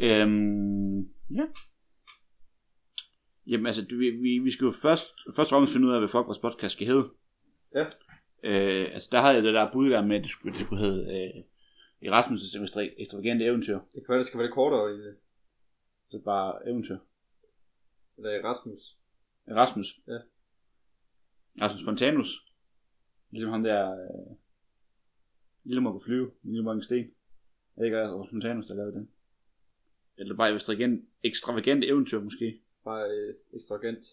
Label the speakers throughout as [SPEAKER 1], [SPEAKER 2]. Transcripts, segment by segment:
[SPEAKER 1] Øhm, ja. Jamen altså, du- vi, vi, vi skal jo først, først og fremmest finde ud af, hvad folk vores podcast skal hedde.
[SPEAKER 2] Ja.
[SPEAKER 1] Øh, altså, der havde jeg det der bud der med, at det skulle, det skulle hedde øh, Erasmus' ekstra- ekstravagante eventyr.
[SPEAKER 2] Det kan være, det skal være lidt kortere øh, i det.
[SPEAKER 1] Så bare eventyr.
[SPEAKER 2] Eller i Rasmus.
[SPEAKER 1] Erasmus.
[SPEAKER 2] Ja.
[SPEAKER 1] Erasmus Spontanus. Ligesom ham der... Øh, Lille må kunne flyve, Lille må en sten. Er det ikke Erasmus Spontanus, der lavede den? Eller bare ekstravagant, ekstravagant eventyr, måske.
[SPEAKER 2] Bare øh, ekstravagant.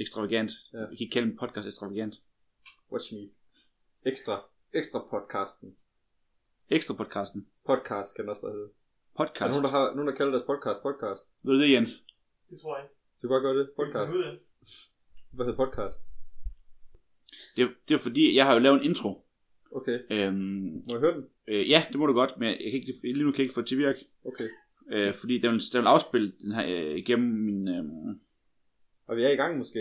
[SPEAKER 1] Ekstravagant.
[SPEAKER 2] Ja.
[SPEAKER 1] Ja. Vi kan ikke kalde en podcast ekstravagant.
[SPEAKER 2] Watch me. Ekstra. Ekstra podcasten.
[SPEAKER 1] Ekstra podcasten.
[SPEAKER 2] Podcast kan den også bare hedde. Er der
[SPEAKER 1] Podcast.
[SPEAKER 2] nogen, der, har, nogen, der kalder deres podcast podcast?
[SPEAKER 1] Ved du det, Jens?
[SPEAKER 3] Det tror jeg ikke.
[SPEAKER 2] Så kan godt gøre det.
[SPEAKER 3] Vi kan
[SPEAKER 2] Podcast.
[SPEAKER 3] finde ud af det.
[SPEAKER 2] Hvad hedder podcast?
[SPEAKER 1] Det, er- det er fordi, jeg har jo lavet en intro.
[SPEAKER 2] Okay.
[SPEAKER 1] Øhm,
[SPEAKER 2] Må jeg høre den?
[SPEAKER 1] øh, ja, det må du godt, men jeg kan ikke, lige nu kan jeg ikke få det til at virke.
[SPEAKER 2] Okay.
[SPEAKER 1] Øh, fordi den vil, den vil afspille den her, øh, igennem min... Øh,
[SPEAKER 2] Og vi er i gang måske.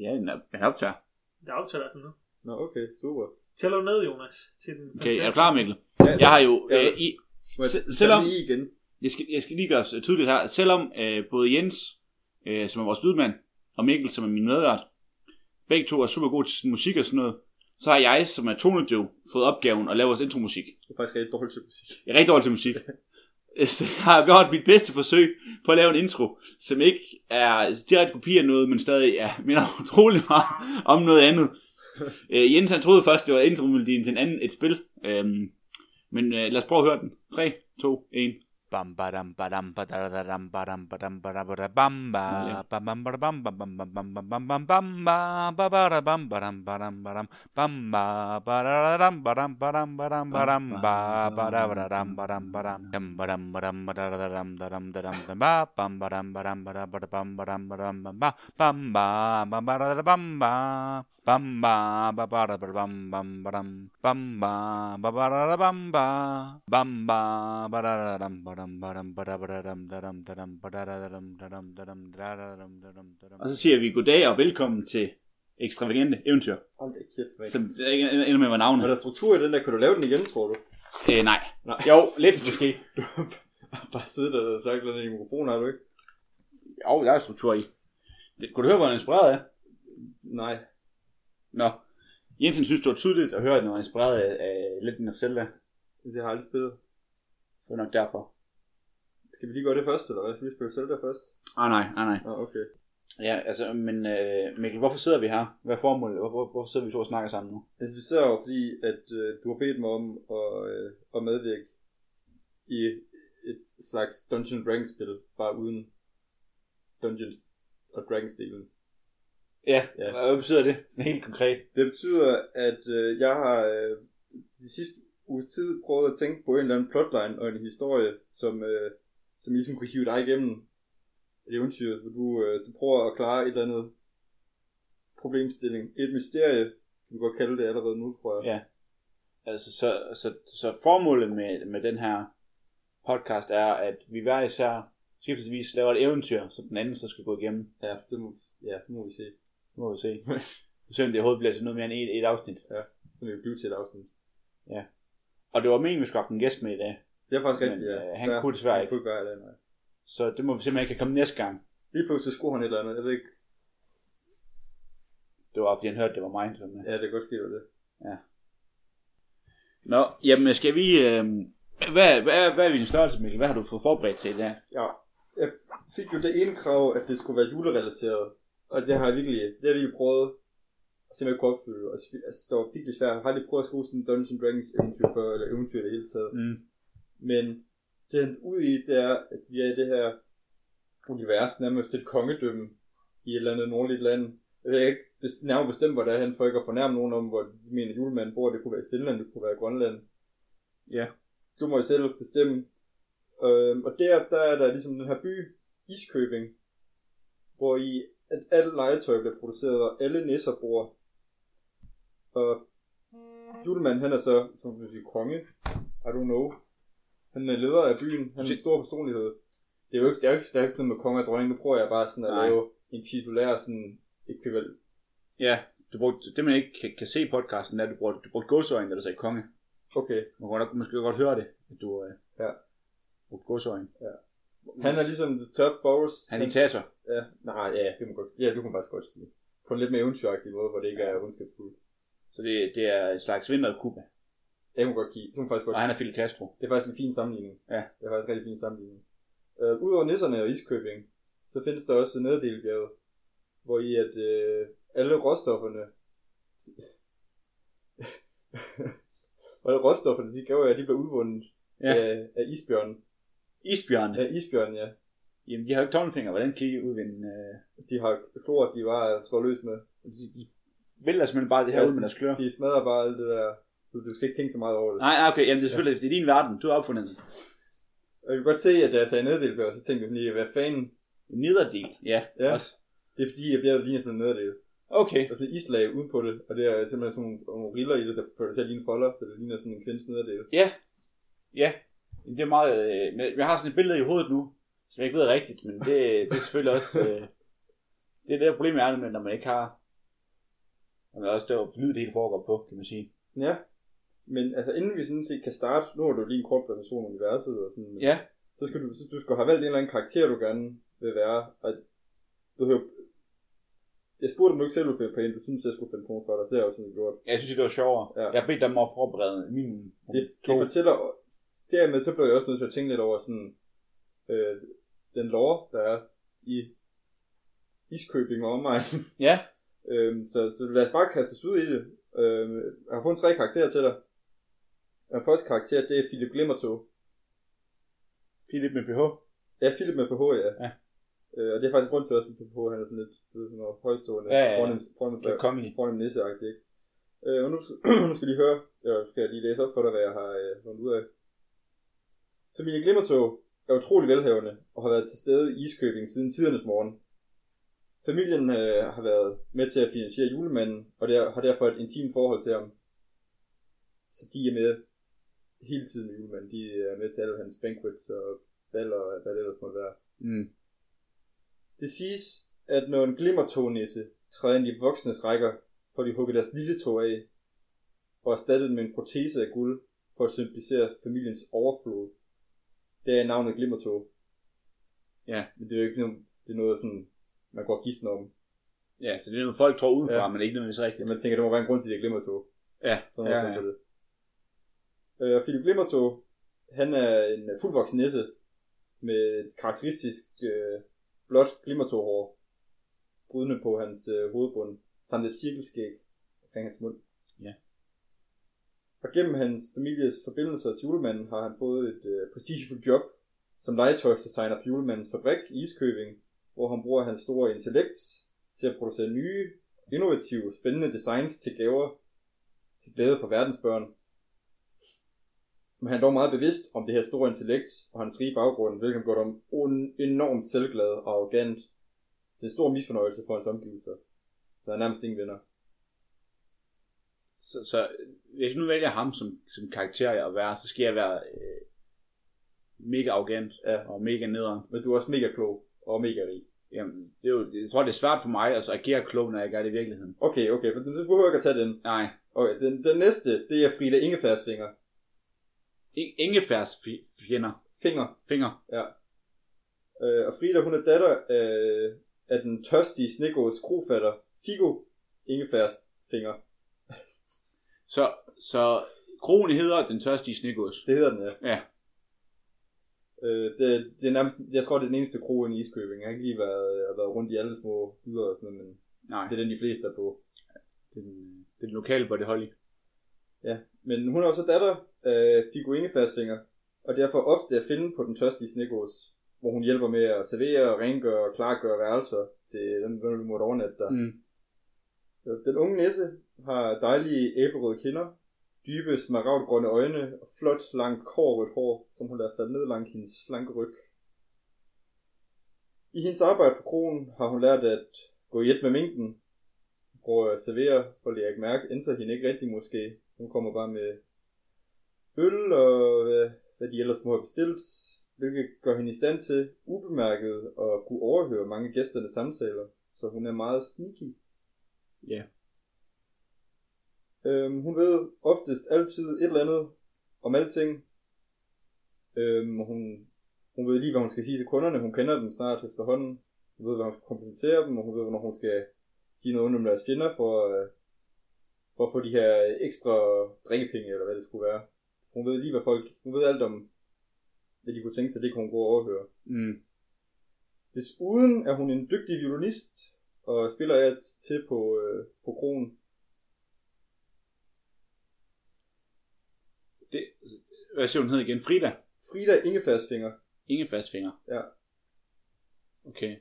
[SPEAKER 1] ja, en, op- en optager.
[SPEAKER 3] Jeg optager den nu.
[SPEAKER 2] Nå, okay. Super.
[SPEAKER 3] Tæller du ned, Jonas, til den
[SPEAKER 1] Okay, er du
[SPEAKER 3] fantastiske-
[SPEAKER 1] klar, Mikkel?
[SPEAKER 2] Ja,
[SPEAKER 1] Jeg har jo...
[SPEAKER 2] Ja.
[SPEAKER 1] Øh, i,
[SPEAKER 2] Må jeg
[SPEAKER 1] Se-
[SPEAKER 2] tage
[SPEAKER 1] selvom-
[SPEAKER 2] lige igen?
[SPEAKER 1] jeg, skal, jeg skal lige gøre os tydeligt her. Selvom øh, både Jens, øh, som er vores lydmand, og Mikkel, som er min medvært, begge to er super gode til musik og sådan noget, så har jeg, som er tonedøv, fået opgaven at lave vores intromusik.
[SPEAKER 2] Det er faktisk rigtig dårligt til musik.
[SPEAKER 1] Jeg er rigtig dårlig til musik. Så jeg har gjort mit bedste forsøg på at lave en intro, som ikke er direkte kopi af noget, men stadig er minder utrolig meget om noget andet. Øh, Jens han troede først, det var intromelodien til en anden, et spil. Øhm, men øh, lad os prøve at høre den. 3, 2, 1.
[SPEAKER 4] Bam badam badam badadadam badam badam badabada bam
[SPEAKER 1] Ja.
[SPEAKER 4] ba bam bam bada bam bam bam bam bam bam bam bam bam ba ba bada bam badam badam badam bam ba badadadam badam badam badam badam ba badabadadam badam badam dam badam badam badadadam dadam dadam dam ba bam badam badam bada bada bam badam badam bam ba bam ba bam badada bam ba bam ba ba bada bada bam bam badam bam ba ba bada bam ba bam ba bada dam badam badam bada bada dam dadam dadam bada dadam dadam dadam dadam dadam dadam
[SPEAKER 1] Og så siger vi goddag og velkommen til Ekstravagante Eventyr,
[SPEAKER 2] Hold da kæft, mand.
[SPEAKER 1] som der ikke ender med at være navnet.
[SPEAKER 2] Var der struktur i den der? Kunne du lave den igen, tror du?
[SPEAKER 1] Øh, nej.
[SPEAKER 2] Nej.
[SPEAKER 1] Jo, lidt måske.
[SPEAKER 2] Bare sidde der og sagt noget i mikrofonen, har du ikke?
[SPEAKER 1] Jo, der er struktur i. Det, kunne du høre, hvor den er inspireret af?
[SPEAKER 2] Nej.
[SPEAKER 1] Nå. Jensen synes, det var tydeligt at høre, at den var inspireret af, af Legend of Zelda.
[SPEAKER 2] Det har jeg aldrig spillet.
[SPEAKER 1] Så er det nok derfor.
[SPEAKER 2] Skal vi lige gøre det først, eller hvad? Skal vi spille Zelda først?
[SPEAKER 1] Ah, nej, ah, nej.
[SPEAKER 2] Nå, okay.
[SPEAKER 1] Ja, altså, men øh, Mikkel, hvorfor sidder vi her? Hvad er formålet? Hvor, hvor, hvorfor sidder vi to og snakker sammen nu?
[SPEAKER 2] Altså, vi sidder jo fordi, at øh, du har bedt mig om at, øh, at medvirke i et slags Dungeon Dragons-spil, bare uden Dungeons og Dragons-delen.
[SPEAKER 1] Ja,
[SPEAKER 2] Ja.
[SPEAKER 1] hvad betyder det? Sådan helt konkret.
[SPEAKER 2] Det betyder, at øh, jeg har øh, de sidste uge tid prøvet at tænke på en eller anden plotline og en historie, som, øh, som ligesom kunne hive dig igennem et eventyr, hvor du, øh, du prøver at klare et eller andet problemstilling. Et mysterie, kan vi godt kalde det allerede nu, tror jeg.
[SPEAKER 1] Ja. Altså, så, så, så formålet med, med den her podcast er, at vi hver især skiftesvis laver et eventyr, som den anden så skal gå igennem.
[SPEAKER 2] Ja, det må, ja, det må vi se.
[SPEAKER 1] Nu må vi se. Selvom det overhovedet bliver til noget mere end et, et afsnit.
[SPEAKER 2] Så vil vi blive til et afsnit.
[SPEAKER 1] Og det var meningen, vi skulle have haft en gæst med i dag,
[SPEAKER 2] Det er faktisk
[SPEAKER 1] Men,
[SPEAKER 2] rigtigt, ja.
[SPEAKER 1] øh, han
[SPEAKER 2] Desværre.
[SPEAKER 1] kunne desværre
[SPEAKER 2] Han
[SPEAKER 1] ikke.
[SPEAKER 2] kunne ikke være i dag, nej.
[SPEAKER 1] så det må vi simpelthen ikke have kommet næste gang.
[SPEAKER 2] Lige pludselig skruer han et eller andet. Jeg ved ikke,
[SPEAKER 1] Det var, fordi han hørte, det var mig, øh, der var med.
[SPEAKER 2] ja, det kan godt ske, det var det.
[SPEAKER 1] Nå, jamen skal vi... Øh, hvad, hvad, hvad er din størrelse, Mikkel? Hvad har du fået forberedt til i dag?
[SPEAKER 2] Ja, jeg fik jo det ene krav, at det skulle være julerelateret. Og det har jeg virkelig, det har jeg virkelig prøvet at se, om jeg kunne opfylde. Og sv- altså, det var virkelig svært. Jeg har aldrig prøvet at skrive sådan en Dungeons Dragons eventyr før, eller eventyr i det hele taget.
[SPEAKER 1] Mm.
[SPEAKER 2] Men det jeg endte ud i, det er, at vi er i det her univers, nærmest et kongedømme i et eller andet nordligt land. Jeg kan ikke bes- nærmere bestemme, hvor det er han, for ikke at fornærme nogen om, hvor de mener julemanden bor. Det kunne være i Finland, det kunne være i Grønland.
[SPEAKER 1] Ja.
[SPEAKER 2] Du må jo selv bestemme. Øhm, og der, der er der ligesom den her by, Iskøbing, hvor i at alle legetøj bliver produceret, og alle nisser bor. Og Julemand, han er så, som vil sige, konge. I don't know. Han er leder af byen. Han er en stor personlighed. Det er jo ikke, det er jo ikke, det er jo ikke sådan noget med konge og dronning. Nu prøver jeg bare sådan at
[SPEAKER 1] Nej.
[SPEAKER 2] lave en titulær sådan ekvivalent.
[SPEAKER 1] Ja, du brugte, det man ikke kan, kan se i podcasten, er, at du brugte, du brugte godsøjne, da du sagde konge.
[SPEAKER 2] Okay,
[SPEAKER 1] Man kan godt, måske godt høre det, at du øh,
[SPEAKER 2] Ja.
[SPEAKER 1] brugte godsøjne.
[SPEAKER 2] Ja. Han er ligesom the top Boris.
[SPEAKER 1] Han er diktator.
[SPEAKER 2] Ja, nej, ja, det må godt, ja, du kan faktisk godt sige. På en lidt mere eventyragtig måde, hvor det ikke er ondskabsfuldt.
[SPEAKER 1] Så det, det er en slags vinter Cuba.
[SPEAKER 2] Jeg må godt give, det må faktisk godt
[SPEAKER 1] Og han er
[SPEAKER 2] sige.
[SPEAKER 1] Fidel Castro.
[SPEAKER 2] Det er faktisk en fin sammenligning.
[SPEAKER 1] Ja.
[SPEAKER 2] Det er faktisk en rigtig fin sammenligning. Øh, Udover nisserne og Iskøbing, så findes der også neddelbjerget, hvor i at øh, alle råstofferne... og alle råstofferne, de gav jeg, de blev udvundet
[SPEAKER 1] Ja.
[SPEAKER 2] ja. af, af isbjørnen.
[SPEAKER 1] Isbjørnene.
[SPEAKER 2] Af isbjørnen, ja.
[SPEAKER 1] Jamen, de har jo ikke tommelfinger. Hvordan kan de udvinde... Øh,
[SPEAKER 2] De har klor, de bare slår løs med.
[SPEAKER 1] de, de vælter simpelthen bare det her
[SPEAKER 2] Ja,
[SPEAKER 1] ja, ud med deres klør.
[SPEAKER 2] De smadrer bare alt det der... Du, du skal ikke tænke så meget over det.
[SPEAKER 1] Nej, nej, okay. Jamen, det er selvfølgelig, det er din verden. Du har opfundet den.
[SPEAKER 2] Og jeg kan godt se, at da jeg sagde neddelbjerg, så tænkte jeg lige, hvad fanden?
[SPEAKER 1] Nederdel. Ja,
[SPEAKER 2] Ja.
[SPEAKER 1] ja. også.
[SPEAKER 2] Det er fordi, jeg bliver lignet som en nederdel.
[SPEAKER 1] Okay.
[SPEAKER 2] Der er sådan et islag ude på det, og det er simpelthen sådan nogle- nogle riller i det, der får det til at ligne folder, så det ligner sådan en kvindes nederdel.
[SPEAKER 1] Ja. Ja. Det er meget... Øh, men jeg har sådan et billede i hovedet nu, som jeg ikke ved er rigtigt, men det, det er selvfølgelig også... Øh, det er det, der problemet er, når man ikke har... Når man også der lyd, det hele foregår på, kan man sige.
[SPEAKER 2] Ja. Men altså, inden vi sådan set kan starte, nu har du lige en kort præsentation af universet og sådan,
[SPEAKER 1] Ja.
[SPEAKER 2] så skal du, så du skal have valgt en eller anden karakter, du gerne vil være, og du hører, jeg spurgte, om du ikke selv ville finde på en, du synes, jeg skulle finde på en for dig, så det har jeg jo sådan gjort.
[SPEAKER 1] Jeg synes, det var sjovere.
[SPEAKER 2] Ja.
[SPEAKER 1] Ja. Jeg har bedt dem om at forberede min...
[SPEAKER 2] det, det fortæller, dermed så blev jeg også nødt til at tænke lidt over sådan, øh, den lore, der er i Iskøbing og omegn.
[SPEAKER 1] Ja.
[SPEAKER 2] øhm, så, så lad os bare kaste os ud i det. Øhm, jeg har fundet tre karakterer til dig. Den første karakter, det er Philip Glimmertog.
[SPEAKER 1] Philip med BH.
[SPEAKER 2] Ja, Philip med PH, ja.
[SPEAKER 1] Ja.
[SPEAKER 2] Øh, og det er faktisk en grund til også, at PH han er sådan lidt du ved, sådan noget højstående.
[SPEAKER 1] Ja, ja, ja.
[SPEAKER 2] Fornem, fornem,
[SPEAKER 1] Det er kongelig.
[SPEAKER 2] fornem nisseagtigt, ikke? Øh, og nu, nu skal I lige høre, jeg skal lige læse op for dig, hvad jeg har øh, fundet ud af. Familien Glimmertog er utrolig velhavende og har været til stede i Iskøbing siden tidernes morgen. Familien øh, har været med til at finansiere julemanden, og der, har derfor et intimt forhold til ham. Så de er med hele tiden med julemanden. De er med til alle hans banquets og baller og hvad det ellers måtte være.
[SPEAKER 1] Mm.
[SPEAKER 2] Det siges, at når en glimmertognisse træder ind i voksnes rækker, får de hugget deres lille tog af og erstattet den med en protese af guld for at symbolisere familiens overflod. Det er navnet glimmertog.
[SPEAKER 1] Ja.
[SPEAKER 2] Men det er jo ikke noget, det er noget sådan, man går gisten om.
[SPEAKER 1] Ja, så det er noget, folk tror udenfra,
[SPEAKER 2] Ja.
[SPEAKER 1] ja. men ikke nødvendigvis rigtigt.
[SPEAKER 2] Ja, man tænker, der må være en grund til, at det er glimmertog.
[SPEAKER 1] Ja,
[SPEAKER 2] Sådan ja, ja.
[SPEAKER 1] ja.
[SPEAKER 2] det. Øh, og Philip Glimmertog, han er en øh, fuldvoksen nisse med et karakteristisk øh, blåt glimmertoghår, brydende på hans øh, hovedbund, samt et cirkelskæg omkring hans mund.
[SPEAKER 1] Ja.
[SPEAKER 2] Og gennem hans families forbindelser til julemanden har han fået et øh, prestigefuldt job som legetøjsdesigner på julemandens fabrik i Iskøbing, hvor han bruger hans store intellekt til at producere nye, innovative, spændende designs til gaver til glæde for verdens børn. Men han er dog meget bevidst om det her store intellekt og hans rige baggrund, hvilket gør ham un- enormt selvglad og arrogant. Det er en stor misfornøjelse for hans omgivelser. Så han er nærmest ingen venner.
[SPEAKER 1] Så, så hvis jeg nu vælger ham som, som karakter at være, så skal jeg være øh, mega arrogant
[SPEAKER 2] Ja.
[SPEAKER 1] ja. og mega nederen.
[SPEAKER 2] Men du er også mega klog og mega rig.
[SPEAKER 1] Jamen, det er jo, jeg tror, det er svært for mig at så agere klog, når jeg gør det i virkeligheden.
[SPEAKER 2] Okay, okay, men så behøver jeg ikke at tage den.
[SPEAKER 1] Nej,
[SPEAKER 2] Okay, den, den næste, det er Frida Ingefærs finger.
[SPEAKER 1] I- ingefærs fi- fjender.
[SPEAKER 2] Finger.
[SPEAKER 1] Finger.
[SPEAKER 2] Øh, og Frida, hun er datter af, af den tørstige snegås krofatter Figo Ingefærs finger.
[SPEAKER 1] Så, så krogen hedder den tørstige snegås.
[SPEAKER 2] Det hedder den, ja.
[SPEAKER 1] Ja.
[SPEAKER 2] Øh, det, det er nærmest, jeg tror, det er den eneste kro inde i Iskøbing. Jeg har ikke lige været, jeg har været rundt i alle små byder og sådan noget, men
[SPEAKER 1] Nej,
[SPEAKER 2] det
[SPEAKER 1] det,
[SPEAKER 2] er den, de fleste er på.
[SPEAKER 1] det, er den, øh, det er den lokale Buddy Holly.
[SPEAKER 2] Men hun er også datter af Figo Ingefærsfinger, og derfor ofte at finde på den tørstige snegås, hvor hun hjælper med at servere, rengøre og klargøre værelser til dem, der måtte overnatte der.
[SPEAKER 1] Mm.
[SPEAKER 2] Den unge næse har dejlige æblerøde kinder, dybe smaragdgrønne øjne og flot, langt kårrødt hår, som hun lader falde ned langs hendes slanke ryg. I hendes arbejde på kronen har hun lært at gå i et med minken. Hun prøver at servere, for det jeg ikke mærke, ændrer hende ikke rigtigt måske. Hun kommer bare med øl og hvad, hvad de ellers må have bestilt, hvilket gør hende i stand til ubemærket at kunne overhøre mange af gæsternes samtaler, så hun er meget sneaky. Øhm, hun ved oftest altid et eller andet om alting. Øhm, og hun Hun ved lige, hvad hun skal sige til kunderne. Hun kender dem snart efterhånden. Hun ved, hvad hun skal kompensere dem, og hun ved, hvornår hun skal sige noget ondt om deres fjender for, øh, for at få de her ekstra drikkepenge, eller hvad det skulle være. Hun ved lige, hvad folk... Hun ved alt om, hvad de kunne tænke sig, det kunne hun gå og overhøre.
[SPEAKER 1] Mm.
[SPEAKER 2] Desuden er hun en dygtig violinist, og spiller jeg til på, øh, på kronen.
[SPEAKER 1] Det, hvad siger hun hed igen? Frida?
[SPEAKER 2] Frida Ingefærsfinger.
[SPEAKER 1] Ingefærsfinger?
[SPEAKER 2] Ja.
[SPEAKER 1] Okay.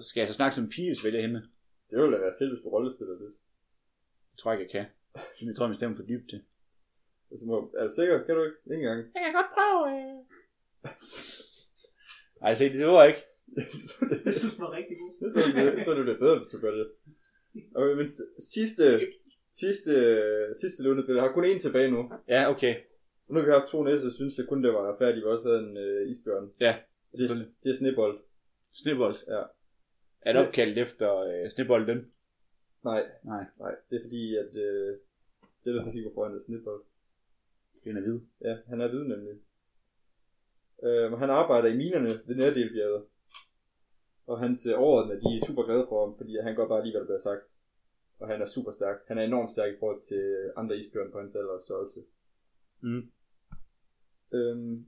[SPEAKER 1] Skal jeg så snakke som en pige, hvis jeg vælger hende?
[SPEAKER 2] Det ville da være fedt, hvis du rollespiller det.
[SPEAKER 1] Det tror jeg ikke, jeg kan. Jeg tror, min stemme er for dybt til.
[SPEAKER 2] Altså, må, er du sikker? Kan du ikke? Ikke engang.
[SPEAKER 1] Jeg kan godt prøve. øh. Ej, se, det var ikke.
[SPEAKER 2] så er det,
[SPEAKER 3] Jeg synes, den var rigtig god.
[SPEAKER 2] så er det, så er det bliver bedre, hvis du gør det. Okay, men t- sidste, sidste, sidste løbende har kun én tilbage nu.
[SPEAKER 1] Ja, okay.
[SPEAKER 2] Nu har vi haft to næste, så synes jeg kun, det var færdigt, vi også havde en øh, isbjørn.
[SPEAKER 1] Ja,
[SPEAKER 2] Det er,
[SPEAKER 1] selvfølgelig.
[SPEAKER 2] det er snebold.
[SPEAKER 1] Snebold.
[SPEAKER 2] Ja.
[SPEAKER 1] Er det opkaldt efter øh, Snebolden?
[SPEAKER 2] Nej,
[SPEAKER 1] Nej,
[SPEAKER 2] nej. Det er fordi, at... Øh, det ved jeg faktisk ikke, hvorfor han hedder snebold.
[SPEAKER 1] den er hvid.
[SPEAKER 2] Ja, han er hvid nemlig. Øhm, han arbejder i minerne ved Nærdelbjerget. Og hans øh, overordnede, de er super glade for ham, fordi han går bare lige, hvad der bliver sagt. Og han er super stærk. Han er enormt stærk i forhold til øh, andre isbjørn på hans alder og størrelse.
[SPEAKER 1] Mm.
[SPEAKER 2] Øhm,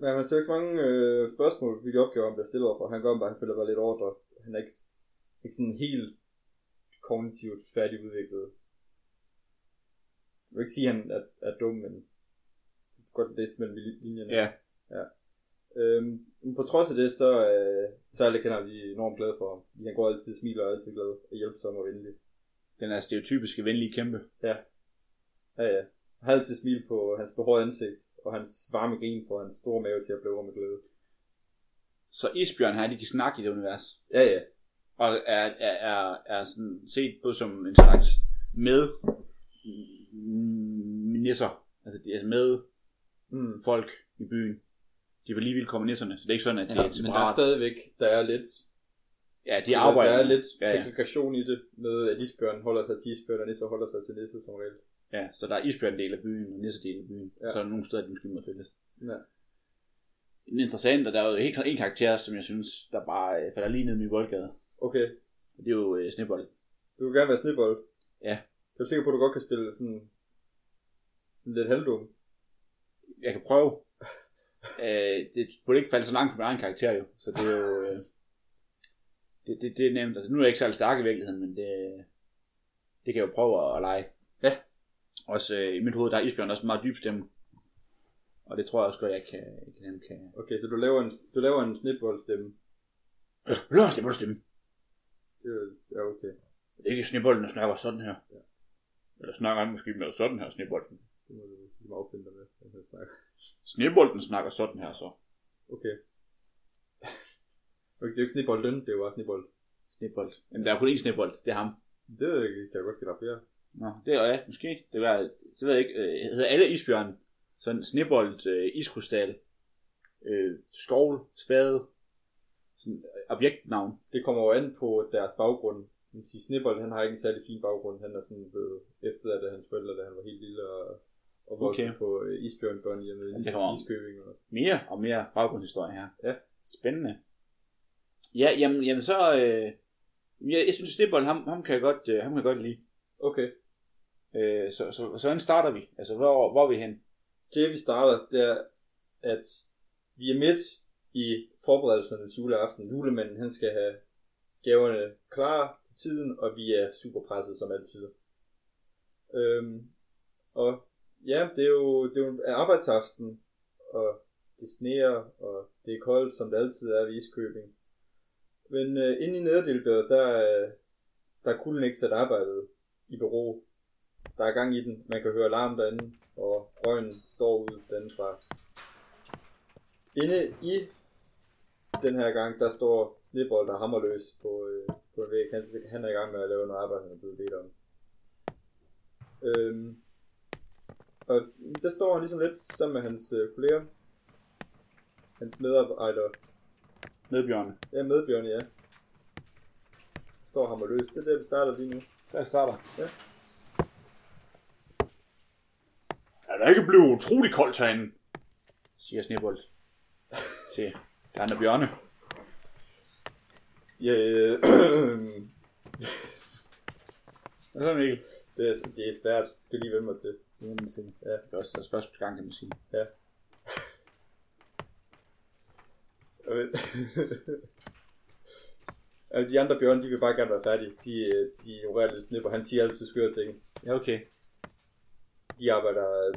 [SPEAKER 2] men man ser ikke så mange øh, spørgsmål, vi opgaver, han bliver stillet overfor. Han går bare, han føler bare lidt ordre. Han er ikke, ikke sådan helt kognitivt færdigudviklet. Jeg vil ikke sige, at han er, er dum, men godt læst mellem linjerne.
[SPEAKER 1] Ja.
[SPEAKER 2] Øhm, men på trods af det, så, øh, så er alle kender de enormt glade for ham. Fordi Han går altid og smiler og er altid glad og hjælpsom og venlig.
[SPEAKER 1] Den er stereotypiske venlige kæmpe.
[SPEAKER 2] Ja, ja. Han har altid smil på hans behårede ansigt, og hans varme grin får hans store mave til at blive med glæde.
[SPEAKER 1] Så isbjørn her, de kan snakke i det univers.
[SPEAKER 2] Ja, ja.
[SPEAKER 1] Og er, er, er, er sådan set på som en slags med mm, nisser. Altså, de er med
[SPEAKER 2] Mm.
[SPEAKER 1] folk i byen. De er på lige vilkår med nisserne, så det er ikke sådan, at det
[SPEAKER 2] Ja,
[SPEAKER 1] ja, er et
[SPEAKER 2] men der er
[SPEAKER 1] separat.
[SPEAKER 2] stadigvæk, der er lidt,
[SPEAKER 1] Ja, de arbejder.
[SPEAKER 2] der er lidt
[SPEAKER 1] ja, ja.
[SPEAKER 2] segregation i det, med at isbjørn holder sig til isbjørn, og nisser holder sig til nisser som regel.
[SPEAKER 1] Ja, så der er isbjørndel af byen og nissedel af byen.
[SPEAKER 2] Ja.
[SPEAKER 1] Ja. Så er der nogle steder, de måske må fælles.
[SPEAKER 2] Ja.
[SPEAKER 1] En interessant, og der er jo helt klart en karakter, som jeg synes, der bare øh, falder lige ned i min boldgade.
[SPEAKER 2] Okay,
[SPEAKER 1] Og det er jo øh, Snebold.
[SPEAKER 2] du vil gerne være snibbold.
[SPEAKER 1] Ja.
[SPEAKER 2] Jeg er du sikker på, at du godt kan spille sådan, sådan lidt halvdum.
[SPEAKER 1] Jeg kan prøve. øh, det burde ikke falde så langt fra min egen karakter jo. Så det er jo... Øh, det, det, det er nemt. Altså, nu er jeg ikke særlig stærk i virkeligheden, men det, det kan jeg jo prøve at, at lege.
[SPEAKER 2] Ja.
[SPEAKER 1] Også øh, i mit hoved, der er isbjørn også en meget dyb stemme. Og det tror jeg også godt, jeg kan, kan, nemt kan.
[SPEAKER 2] Okay, så du laver en, du laver en snibboldstemme.
[SPEAKER 1] Øh, Lad os stemme.
[SPEAKER 2] Det er ja, okay.
[SPEAKER 1] Det er ikke snebolden, der snakker sådan her. Ja. Eller snakker han måske mere sådan her, snebolden.
[SPEAKER 2] Det må du lige affinde dig med, at han snakker.
[SPEAKER 1] Snebolden snakker sådan her så.
[SPEAKER 2] Okay. okay, det er jo ikke snibbolden, det er jo bare snibbold.
[SPEAKER 1] Snebold. Jamen, der er kun én snebold, det er ham.
[SPEAKER 2] Det ved jeg ikke, kan jeg godt give dig flere.
[SPEAKER 1] Nå, det er jeg, måske. Det, var, det ved jeg ikke. Øh, hedder alle isbjørn. Sådan snebold, øh, iskrystal, øh, skovl, spade, sådan øh, objektnavn.
[SPEAKER 2] Det kommer jo an på deres baggrund. Man kan sige, Snibbold, han har ikke en særlig fin baggrund. Han er sådan blevet efter, at hans forældre, da han var helt lille og, og vokset okay.
[SPEAKER 1] Okay.
[SPEAKER 2] på øh, Isbjørnsbørn hjemme i
[SPEAKER 1] det kommer an.
[SPEAKER 2] Iskøbing. Og,
[SPEAKER 1] Mere og mere baggrundshistorie her.
[SPEAKER 2] Ja.
[SPEAKER 1] Spændende. Ja, jamen, jamen så... Øh, jeg, jeg synes, snebold, ham, ham, kan jeg godt, øh, ham kan jeg godt lide.
[SPEAKER 2] okay,
[SPEAKER 1] Øh, så, så, så hvordan starter vi? Altså, hvor, hvor er vi hen?
[SPEAKER 2] det vi starter, det er, at vi er midt i forberedelserne til juleaften. Julemanden, han skal have gaverne klar til tiden, og vi er super presset som altid. Øhm, og ja, det er jo, det er jo er arbejdsaften, og det sneer, og det er koldt, som det altid er ved Iskøbing. Men øh, inde i nederdelbæret, der, er- der er kulden ikke sat arbejdet i bero. Der er gang i den, man kan høre alarm derinde, og røgen står ud derinde fra. Inde i den her gang, der står Snebold der hammer løs på, øh, på en væg. Han, han er i gang med at lave noget arbejde, han er blevet bedt om. Øhm, og der står han ligesom lidt sammen med hans øh, kolleger. Hans medarbejdere.
[SPEAKER 1] Medbjørne.
[SPEAKER 2] Ja, medbjørne, ja. Står ham og løs. Det er der, vi starter lige nu.
[SPEAKER 1] Der starter.
[SPEAKER 2] Ja.
[SPEAKER 1] Er er der ikke blevet utrolig koldt herinde, siger Snebold til de andre bjørne.
[SPEAKER 2] Ja, øh,
[SPEAKER 1] Hvad så, Mikkel?
[SPEAKER 2] det, er, det er svært. Det skal jeg lige vende mig til.
[SPEAKER 1] Jamen, fint. Ja, det er også deres første gang, kan man sige.
[SPEAKER 2] Og men- Altså, de andre bjørne, de vil bare gerne være færdige. De, øh, de ignorerer lidt snip, og han siger altid skøre ting.
[SPEAKER 1] Ja, okay.
[SPEAKER 2] De arbejder øh,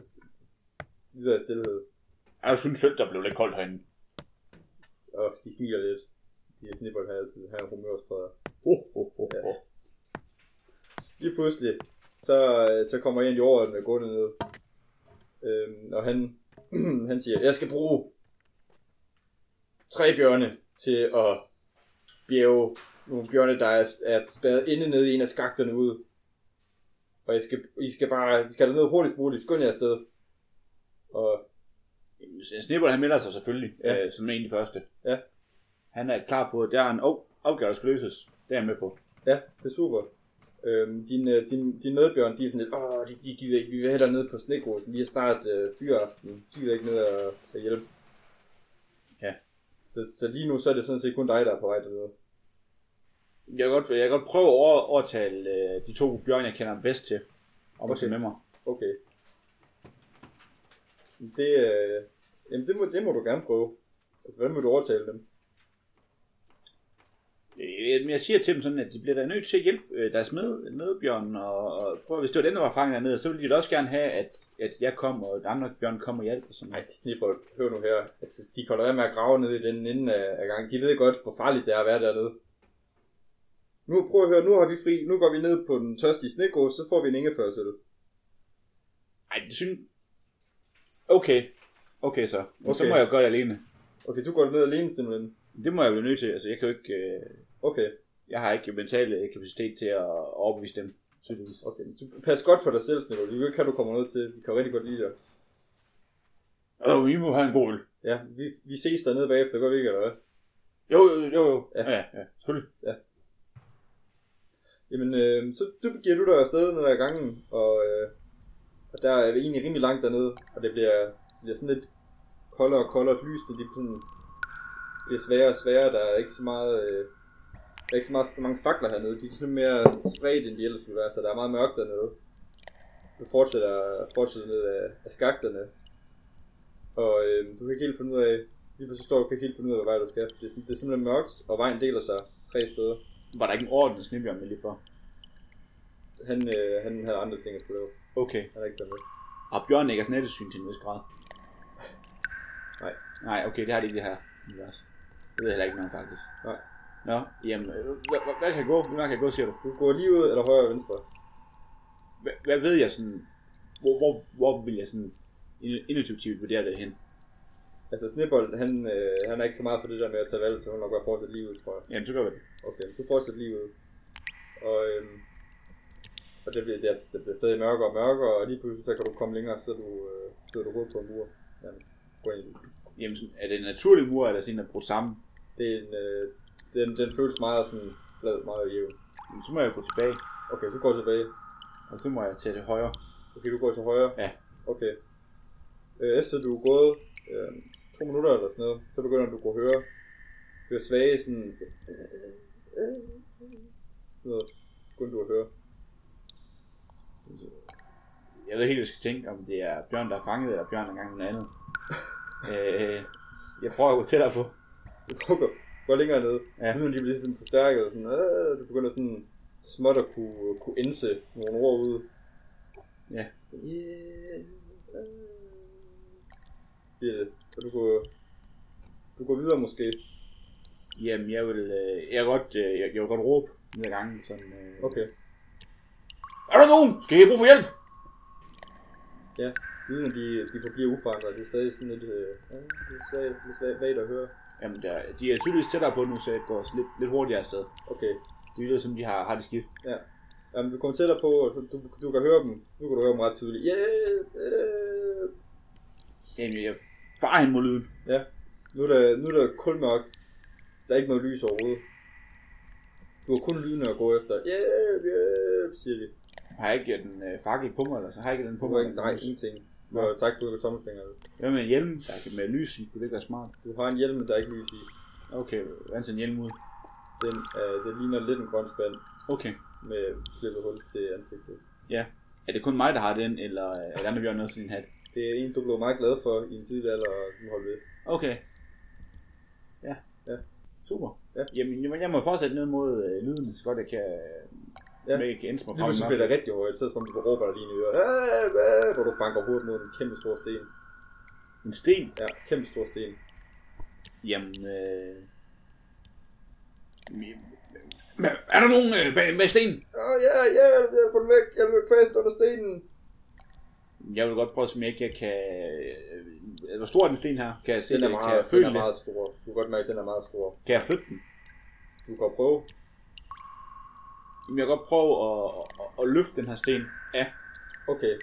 [SPEAKER 2] videre i stillhed,
[SPEAKER 1] Jeg synes selv, der blev lidt koldt herinde.
[SPEAKER 2] og de smiler lidt. De er snipper, han er altid han er humørspreder.
[SPEAKER 1] Oh, oh, oh, oh.
[SPEAKER 2] Lige pludselig, så, øh, så kommer en i året med gående ned. Øhm, og han, han siger, jeg skal bruge tre bjørne til at bjerge nogle bjørne, der er, er spadet inde nede i en af skakterne ud. Og I skal, I skal bare, I skal derned hurtigst muligt, skynd jer afsted. Og
[SPEAKER 1] Snipper, han melder sig selvfølgelig,
[SPEAKER 2] Ja.
[SPEAKER 1] ja. øh, som en af de første.
[SPEAKER 2] Ja.
[SPEAKER 1] Han er klar på, at der er en oh, opgave, der skal løses. Det er han med på.
[SPEAKER 2] ja, det er super. Øhm, din, øh, din, din medbjørn, de er sådan lidt, åh, de, de gider ikke, vi vil hellere ned på snegrosen, vi er snart øh, fyraften, de gider ikke ned og, og hjælpe.
[SPEAKER 1] Ja.
[SPEAKER 2] Så, så lige nu, så er det sådan set kun dig, der er på vej dernede.
[SPEAKER 1] Jeg kan godt, jeg kan godt prøve at over- overtale øh, de to bjørne, jeg kender bedst til, om okay.
[SPEAKER 2] Okay.
[SPEAKER 1] at tage med mig.
[SPEAKER 2] Okay. Det, øh, jamen det må, det må du gerne prøve. Altså, Hvordan vil du overtale dem?
[SPEAKER 1] Øh, men jeg siger til dem sådan, at de bliver da nødt til at hjælpe øh, deres med, medbjørn, og, og prøv, at- hvis det var den, der var fanget dernede, så ville de da også gerne have, at, at jeg kom, og den andre bjørn kom og hjalp. Og sådan.
[SPEAKER 2] Nej, Snipper, hør nu her. Altså, de kan da være med at grave ned i den ende af, af gangen. De ved godt, hvor farligt det er at være dernede. Nu, prøv at høre, nu har vi fri. Nu går vi ned på den tørstige snegås, så får vi en ingefærsøl.
[SPEAKER 1] Ej, det synes... Okay. Okay så. Okay. Så
[SPEAKER 2] Okay.
[SPEAKER 1] må jeg gøre det alene.
[SPEAKER 2] Okay, du går ned alene, simpelthen.
[SPEAKER 1] Det må jeg blive nødt til. Altså, jeg kan jo ikke... Øh,
[SPEAKER 2] Okay,
[SPEAKER 1] jeg har ikke mental øh, kapacitet til at overbevise dem, tydeligvis.
[SPEAKER 2] okay. men Du, pas godt på dig selv, Snipper. Det kan du komme ned til. Vi kan jo rigtig godt lide dig.
[SPEAKER 1] Åh, vi må have en god øl.
[SPEAKER 2] Ja, vi, vi ses dernede bagefter, gør vi ikke, eller hvad?
[SPEAKER 1] Jo, jo, jo. jo.
[SPEAKER 2] Ja.
[SPEAKER 1] Ja. ja, ja, selvfølgelig.
[SPEAKER 2] Jamen, øh, så du giver du dig afsted ned ad gangen, og, øh, og der er vi egentlig rimelig langt dernede, og det bliver, det bliver sådan lidt koldere og koldere og lyst, og det sådan, bliver sværere og sværere, der er ikke så meget... Øh, der er ikke så meget, mange fakler hernede, de er sådan lidt mere spredt, end de ellers ville være, så der er meget mørkt dernede. Du fortsætter, fortsætter ned ad, af skakterne, og øh, du kan ikke helt finde ud af, lige pludselig står du og kan ikke helt finde ud af, hvad vej du skal. Det er, sådan, det er simpelthen mørkt, og vejen deler sig tre steder
[SPEAKER 1] Var der ikke en ordentlig snibjørn med lige for?
[SPEAKER 2] han, øh, han havde andre ting at skulle lave.
[SPEAKER 1] Okay.
[SPEAKER 2] Han er ikke dernede.
[SPEAKER 1] Har bjørn ikke sådan syn til en vis grad?
[SPEAKER 2] Nej.
[SPEAKER 1] Nej, okay, det har de ikke det her. univers. Det ved jeg heller ikke noget, faktisk.
[SPEAKER 2] Nej.
[SPEAKER 1] Nå, jamen, øh, hvad, hvad, hvad kan gå? Hvor langt kan jeg gå, siger du?
[SPEAKER 2] Du går lige ud, eller højre og venstre.
[SPEAKER 1] Hvad, hvad ved jeg sådan... Hvor, hvor, hvor vil jeg sådan inu- intuitivt vurdere det hen?
[SPEAKER 2] Altså Snibbold, han, øh, han er ikke så meget for det der med at tage valg, så hun nok bare fortsætte lige ud, tror jeg.
[SPEAKER 1] Jamen, så gør vi det.
[SPEAKER 2] Okay, du fortsætter lige ud. Og, øhm, og det bliver, det, det bliver stadig mørkere og mørkere, og lige pludselig så kan du komme længere, så du øh, støder du hovedet på en mur. Nærmest. Gå ind i den.
[SPEAKER 1] Jamen, sådan, er det en naturlig mur, eller sådan en, der er brudt sammen?
[SPEAKER 2] Det er en, øh, den, den føles meget sådan flad, meget jævn.
[SPEAKER 1] Jamen, så må jeg gå tilbage,
[SPEAKER 2] Okay, så går du tilbage.
[SPEAKER 1] og så må jeg tage det højre.
[SPEAKER 2] Okay, du går til højre?
[SPEAKER 1] Ja.
[SPEAKER 2] Okay. Øh, efter du er gået øh, to minutter eller sådan noget, så begynder du at kunne høre, høre svage sådan... Øh, øh, noget, begynder du at høre.
[SPEAKER 1] Jeg ved ikke helt, hvad jeg skal tænke, om det er Bjørn, der er fanget, eller Bjørn, der er gang med noget andet. øh, jeg prøver at gå tættere på.
[SPEAKER 2] Du går, går længere ned.
[SPEAKER 1] Ja.
[SPEAKER 2] Ja. Lyden de bliver sådan forstærket. Sådan, øh, du begynder sådan småt at kunne, øh, kunne indse nogle ord ud.
[SPEAKER 1] Ja.
[SPEAKER 2] Yeah. Øh. Bliver det. Og du går, du går videre måske.
[SPEAKER 1] Jamen, jeg vil, øh, jeg vil godt, øh, jeg, jeg vil godt råbe ned ad gangen, sådan... Øh,
[SPEAKER 2] Okay.
[SPEAKER 1] Er der nogen? Skal I have brug for hjælp?
[SPEAKER 2] Lyden, de, de forbliver uforandret. Det er stadig sådan lidt, øh, ja, lidt, svagt, lidt svagt, vagt at høre.
[SPEAKER 1] Jamen, der, de er tydeligvis tættere på nu, så jeg går lidt, lidt hurtigere afsted.
[SPEAKER 2] Okay.
[SPEAKER 1] Det lyder som, de har, har det skidt.
[SPEAKER 2] Jamen, du kommer tættere på, og så du, du kan høre dem. Nu kan du høre dem ret tydeligt. Yeah, yeah.
[SPEAKER 1] Jamen, jeg farer hen mod lyden.
[SPEAKER 2] Nu, er der, nu er der kun mørkt. Der er ikke noget lys overhovedet. Du har kun lyden at gå efter. Yeah, yeah, siger de.
[SPEAKER 1] Har jeg ikke den øh, fakkel på mig, eller så har jeg ikke den på
[SPEAKER 2] Du har
[SPEAKER 1] mig?
[SPEAKER 2] ikke, nej, ingenting. Du har jo sagt, du vil tommelfinger.
[SPEAKER 1] Hvad med en hjelm, der kan med lys i? Kunne det ikke være smart?
[SPEAKER 2] Du har en hjelm, men der er ikke lys i.
[SPEAKER 1] Okay, hvad er en hjelm ud?
[SPEAKER 2] Den, øh, den ligner lidt en grøn spand
[SPEAKER 1] Okay.
[SPEAKER 2] med klippet hul til ansigtet.
[SPEAKER 1] Er det kun mig, der har den, eller øh, er der andre bjørn også sådan en hat?
[SPEAKER 2] Det er en, du blev meget glad for i en tidlig alder, og du holder ved.
[SPEAKER 1] Okay. Ja.
[SPEAKER 2] Ja.
[SPEAKER 1] Super.
[SPEAKER 2] Ja.
[SPEAKER 1] Jamen, jamen, jeg må fortsætte ned mod øh, lyden, så godt jeg kan... Øh,
[SPEAKER 2] Ja.
[SPEAKER 1] ja. Jeg kan ændre mig
[SPEAKER 2] Lige nu så
[SPEAKER 1] frem.
[SPEAKER 2] bliver det rigtig højt, så er det som om, du råber dig lige i øret, hvor du banker hovedet mod en kæmpe stor sten.
[SPEAKER 1] En sten?
[SPEAKER 2] Ja, kæmpe stor sten.
[SPEAKER 1] Jamen, øh... Er der nogen øh, bag, bag sten?
[SPEAKER 2] Åh, ja, ja, jeg vil få den væk, jeg vil kvæst under stenen.
[SPEAKER 1] Jeg vil godt prøve, som jeg ikke jeg kan... øh, Hvor stor er den sten her? Kan jeg se
[SPEAKER 2] Den
[SPEAKER 1] det?
[SPEAKER 2] er
[SPEAKER 1] kan jeg
[SPEAKER 2] meget, den
[SPEAKER 1] føle
[SPEAKER 2] er
[SPEAKER 1] det?
[SPEAKER 2] meget stor. Du kan godt mærke, at den er meget stor.
[SPEAKER 1] Kan jeg flytte den?
[SPEAKER 2] Du kan prøve.
[SPEAKER 1] Jamen, jeg kan godt prøve at, at, at løfte den her sten af.
[SPEAKER 2] Okay.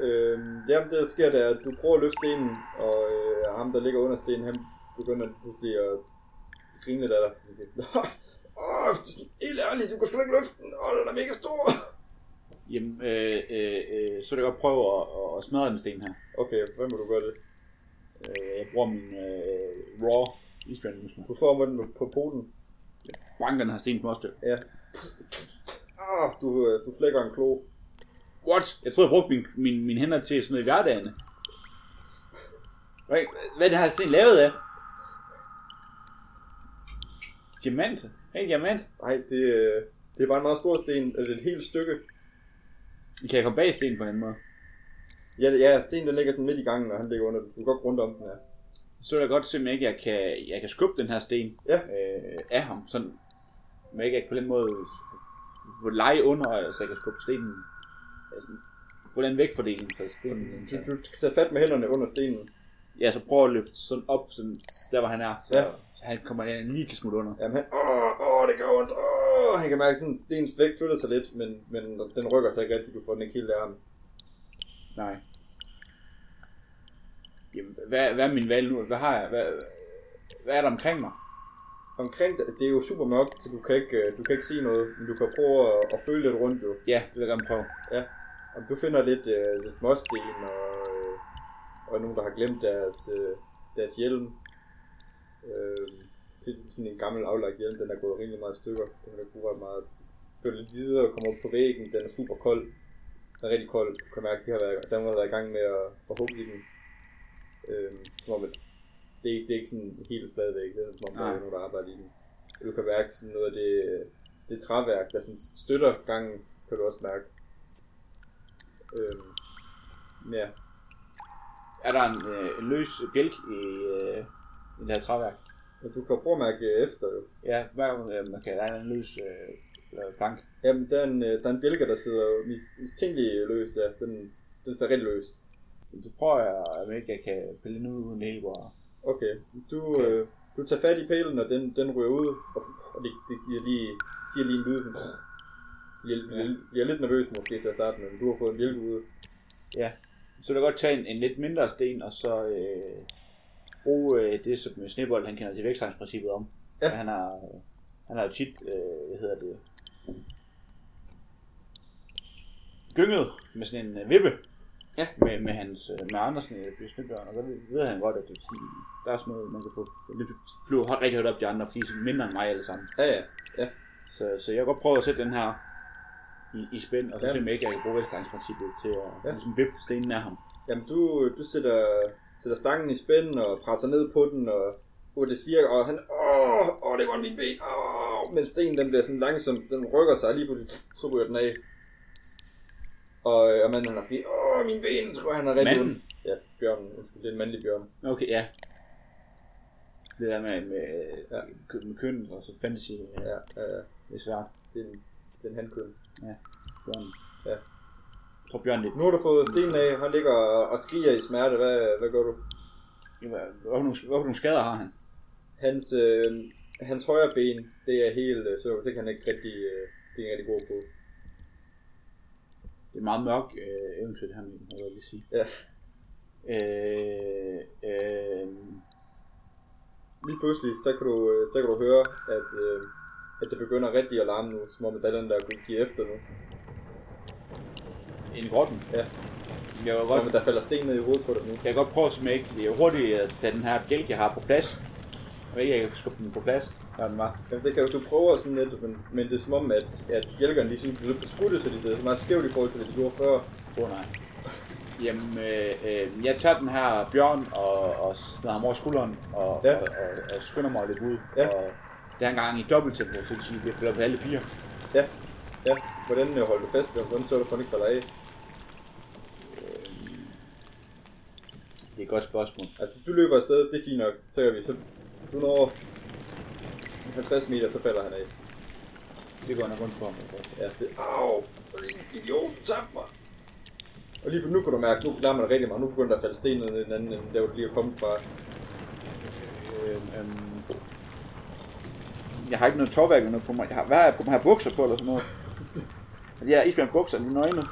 [SPEAKER 2] Øhm, jamen, det der sker, det er, at du prøver at løfte stenen, og øh, ham, der ligger under stenen, han begynder pludselig at grine lidt af dig. Åh, helt ærligt, du kan sgu da ikke løfte den. Åh, den er mega stor.
[SPEAKER 1] Jamen, øh, øh, øh, så vil jeg godt prøve at, at, at smadre den sten her.
[SPEAKER 2] Okay, hvordan må du gøre det?
[SPEAKER 1] Øh, jeg bruger min øh, raw isbjørnmuskler.
[SPEAKER 2] Du får den på poten.
[SPEAKER 1] Banker den her sten på mostet.
[SPEAKER 2] Ja. Ah, du, øh, du flækker en klo.
[SPEAKER 1] What? Jeg tror jeg brugte min, min, mine hænder til sådan noget i hverdagen. Hvad, hvad er det her sten lavet af? Diamant. En diamant.
[SPEAKER 2] Nej, det, øh, det er bare en meget stor sten, og det er et helt stykke.
[SPEAKER 1] Kan jeg komme bag stenen på en anden måde?
[SPEAKER 2] Ja, ja stenen den ligger sådan midt i gangen, og han ligger under den. Du kan godt rundt om den her.
[SPEAKER 1] Så vil jeg godt se, om jeg ikke jeg kan, jeg kan skubbe den her sten
[SPEAKER 2] Ja.
[SPEAKER 1] øh, af ham. Sådan, om jeg ikke jeg på den måde få leje under, så jeg kan skubbe stenen. Altså, få den væk fra delen, så stenen
[SPEAKER 2] Du, du kan tage fat med hænderne under stenen.
[SPEAKER 1] Ja, så prøv at løfte sådan op, sådan, der hvor han er, så,
[SPEAKER 2] Ja.
[SPEAKER 1] ja. så han kommer han lige kan smutte under.
[SPEAKER 2] Jamen han, åh, åh, det gør ondt, åh. Han kan mærke, at sådan stenens vægt flytter sig lidt, men, men den rykker sig ikke rigtigt. Du får den ikke helt af ham.
[SPEAKER 1] Nej. Jamen, hvad, hvad er min valg nu? Hvad har jeg? Hvad, hvad er der omkring mig?
[SPEAKER 2] Omkring dig, det er jo super mørkt, så du kan ikke, øh, du kan ikke se noget, men du kan prøve at, at føle lidt rundt jo.
[SPEAKER 1] Ja, det vil jeg gerne prøve.
[SPEAKER 2] Om du finder lidt, øh, lidt småsten og, øh, og nogen, der har glemt deres, øh, deres hjelm. Øh, det er sådan en gammel aflagt hjelm, den er gået rimelig meget i stykker. Den er brugt ret meget. Følger lidt videre og kommer op på væggen, den er super kold. Den er rigtig kold, du kan mærke, at de har været, den har været i gang med at, at hugge i den. Øh, som om, at det, er, ikke- det er ikke sådan helt flad væg, det er som om, der
[SPEAKER 1] Nej.
[SPEAKER 2] er nogen, der arbejder i den. Og Du kan mærke sådan noget af det, det træværk, der sådan støtter gangen, kan du også mærke. Øhm, ja,
[SPEAKER 1] Er der en, øh, en løs bjælk i, øh, i det her træværk?
[SPEAKER 2] men du kan prøve at mærke efter jo.
[SPEAKER 1] Ja, hvad øh, man kan der er en løs øh, øh, plank.
[SPEAKER 2] Jamen, der er en, øh, der er en bjælke, der sidder jo mis- mistænkeligt løst, ja. Den, den sidder rigtig løst.
[SPEAKER 1] Så prøver jeg, om ikke jeg kan pille den ud uden det hele går.
[SPEAKER 2] Okay, du, øh, du tager fat i pælen, og den, den ryger ud, og, og det, det giver lige, siger lige en lyd. sådan. Jeg, jeg, jeg er lidt nervøs måske til at starte med, men du har fået en bjælke ude.
[SPEAKER 1] Så vil jeg godt tage en, en lidt mindre sten, og så øh, bruge øh, det, som Snebold han kender til vægtstegnsprincippet om.
[SPEAKER 2] Ja.
[SPEAKER 1] Ja. Han har, øh, han har jo tit, øh, hvad hedder det, gynget med sådan en øh, vippe.
[SPEAKER 2] Ja.
[SPEAKER 1] Med, med, hans, øh, med Andersen i Snebjørn, og der ved, ved han godt, at det, er sådan- der er sådan noget, man kan få lidt flyve højt, rigtig højt op de andre, fordi de er mindre end mig alle sammen.
[SPEAKER 2] Ja, ja.
[SPEAKER 1] Så, så jeg kan godt prøve at sætte den her i, i spænd, og så
[SPEAKER 2] Ja.
[SPEAKER 1] ja. se om jeg ikke jeg kan bruge vægtstegnsprincippet til at
[SPEAKER 2] Ja.
[SPEAKER 1] ja. ligesom vippe stenen af ham.
[SPEAKER 2] Jamen, du, du sætter, sætter stangen i spænden og presser ned på den, og uh, det svirker, og han, åh, åh, det går min ben, åh, men stenen, den bliver sådan langsomt, den rykker sig og lige på det, så ryger den af. Og, øh, og manden, han har fri, åh, min ben, tror jeg, han er rigtig
[SPEAKER 1] Manden?
[SPEAKER 2] ondt. Ja, bjørnen, undskyld, det er en mandlig bjørn.
[SPEAKER 1] Okay, ja. Det der med, med,
[SPEAKER 2] Ja.
[SPEAKER 1] ja. med køn og så fantasy, ja.
[SPEAKER 2] Ja, ja, ja,
[SPEAKER 1] det er svært.
[SPEAKER 2] det er en, det er en handkøn.
[SPEAKER 1] Bjørn.
[SPEAKER 2] Ja.
[SPEAKER 1] Jeg tror Bjørn lidt.
[SPEAKER 2] Nu har du fået stenen af, han ligger og, og skriger i smerte, hvad, hvad gør du?
[SPEAKER 1] Hvorfor nogle, hvorfor nogle skader har han?
[SPEAKER 2] Hans, øh, hans højre ben, det er helt, øh, så det kan han ikke rigtig, øh, det er han ikke rigtig god på.
[SPEAKER 1] Det er meget mørk øh, eventyr, det her med, hvad jeg vil sige.
[SPEAKER 2] Ja.
[SPEAKER 1] Øh, øh,
[SPEAKER 2] lige pludselig, så kan du, øh, så kan du høre, at, øh, at det begynder rigtig at larme nu, som om at der er den, der kunne give efter nu.
[SPEAKER 1] en grotten.
[SPEAKER 2] Ja.
[SPEAKER 1] Jeg kan
[SPEAKER 2] Godt, men
[SPEAKER 1] godt,
[SPEAKER 2] der falder sten ned i hovedet på dig nu.
[SPEAKER 1] jeg kan godt prøve at smække det hurtigt at tage den her bjælke, jeg har på plads. Jeg ved ikke, jeg kan skubbe den på plads.
[SPEAKER 2] Ja, den var. Jamen, det kan jo- du prøver sådan lidt, men, men det er som om, at, at hjælperne lige sådan blev lidt forskudte, så de sidder så meget skævt i forhold til, hvad de gjorde før.
[SPEAKER 1] Åh oh, nej. Jamen, øh, øh, jeg tager den her bjørn og, og smider ham over skulderen og,
[SPEAKER 2] Ja.
[SPEAKER 1] ja. og, og, og skynder mig lidt ud.
[SPEAKER 2] Ja.
[SPEAKER 1] Og det er engang i dobbelt tempo, så det vil sige, at jeg bliver på alle fire.
[SPEAKER 2] Ja, ja. Hvordan øh, holder du fast? i dem? Hvordan sørger du for, at den ikke falder af?
[SPEAKER 1] Det er et godt spørgsmål.
[SPEAKER 2] Altså, du løber afsted, det er fint nok. Så gør vi. Så du når 50 meter, så falder han af.
[SPEAKER 1] Det går jeg nok rundt på Øh, mig.
[SPEAKER 2] Ja, det... Au! Idiot, tab mig! Og lige på nu kan du mærke, nu larmer det rigtig meget. Nu begynder der at falde sten ned i den anden, end der hvor du lige er kommet fra.
[SPEAKER 1] Øhm, øhm. Jeg har ikke noget tårværk eller noget på mig. Jeg har, hvad har jeg på mig? Har jeg bukser på eller sådan noget? jeg er ikke med bukser, lige nøgne.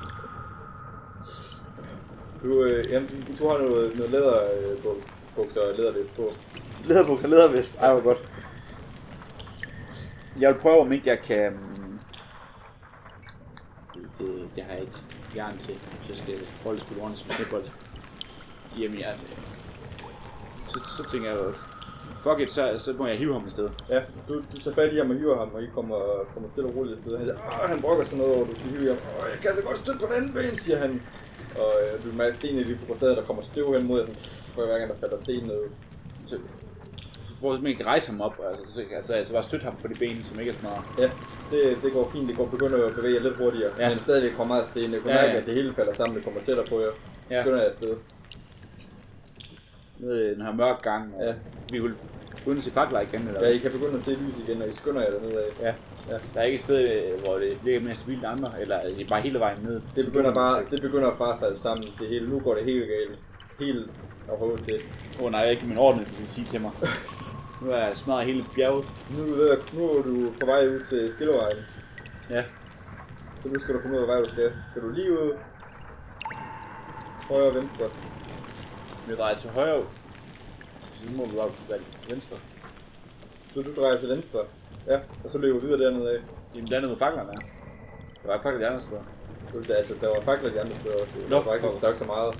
[SPEAKER 2] Du, øh, jamen, du, du har noget, noget læder øh, på bukser og lædervest på.
[SPEAKER 1] Læderbukser, lædervest. Ej, hvor godt. Jeg vil prøve, om ikke jeg kan... mm, Det, det, det har jeg ikke jern til. Så jeg skal holde spille rundt som snebold. Jamen, jeg... Så, så tænker jeg jo... Fuck it, så, så må jeg hive ham i stedet.
[SPEAKER 2] Ja, du, du tager fat i ham og hiver ham, og I kommer, kommer stille og roligt afsted. Han, siger, "Åh, han brokker sig noget over, du kan hive i ham. Åh, jeg kan så godt støtte på den anden ben, siger han. Og øh, du mærker stenene lige på kvarteret, der kommer støv hen mod jer, sådan, for hver gang der falder sten ned.
[SPEAKER 1] Så, så prøver jeg simpelthen ikke at rejse ham op, altså, så, altså, altså bare støtte ham på de ben, som ikke er smadret.
[SPEAKER 2] Ja, det, det går fint, det går begynder at bevæge jer lidt hurtigere. Ja.
[SPEAKER 1] Ja.
[SPEAKER 2] Men stadigvæk kommer meget sten, jeg kan
[SPEAKER 1] Ja,
[SPEAKER 2] mærke,
[SPEAKER 1] ja.
[SPEAKER 2] at det hele falder sammen, det kommer tættere på jer. Så
[SPEAKER 1] Ja.
[SPEAKER 2] skynder jeg afsted.
[SPEAKER 1] Nede i den her mørke gang, og
[SPEAKER 2] Ja.
[SPEAKER 1] ja. vi vil begynde at se fakler igen, eller
[SPEAKER 2] Ja,
[SPEAKER 1] hvad?
[SPEAKER 2] I kan begynde at se lys igen, og I skynder jer dernede af.
[SPEAKER 1] Ja.
[SPEAKER 2] Ja.
[SPEAKER 1] ja. Der er ikke et sted, øh, hvor det virker mere stabilt end andre, eller øh, bare hele vejen ned.
[SPEAKER 2] Det begynder bare, det begynder bare at falde sammen, det hele. Nu går det helt galt. Helt af hovedet til.
[SPEAKER 1] Åh oh, nej, jeg er ikke min ordne, vil sige til mig. nu er jeg smadret hele bjerget.
[SPEAKER 2] Nu er du, ved, at- nu er du på vej ud til Skillevejen.
[SPEAKER 1] Ja.
[SPEAKER 2] Så nu skal du komme ud af vej, du skal. Skal du lige ud? Højre og venstre.
[SPEAKER 1] Vi drejer til højre. Så nu må vi bare være til venstre.
[SPEAKER 2] Så du drejer til venstre. Ja, og så løber du videre dernede af.
[SPEAKER 1] Jamen, der er noget med faklerne her. Der var faktisk et andet sted.
[SPEAKER 2] Så der- Altså, der var fakler de andre steder også.
[SPEAKER 1] Nå,
[SPEAKER 2] Der var ikke, der var ikke så meget.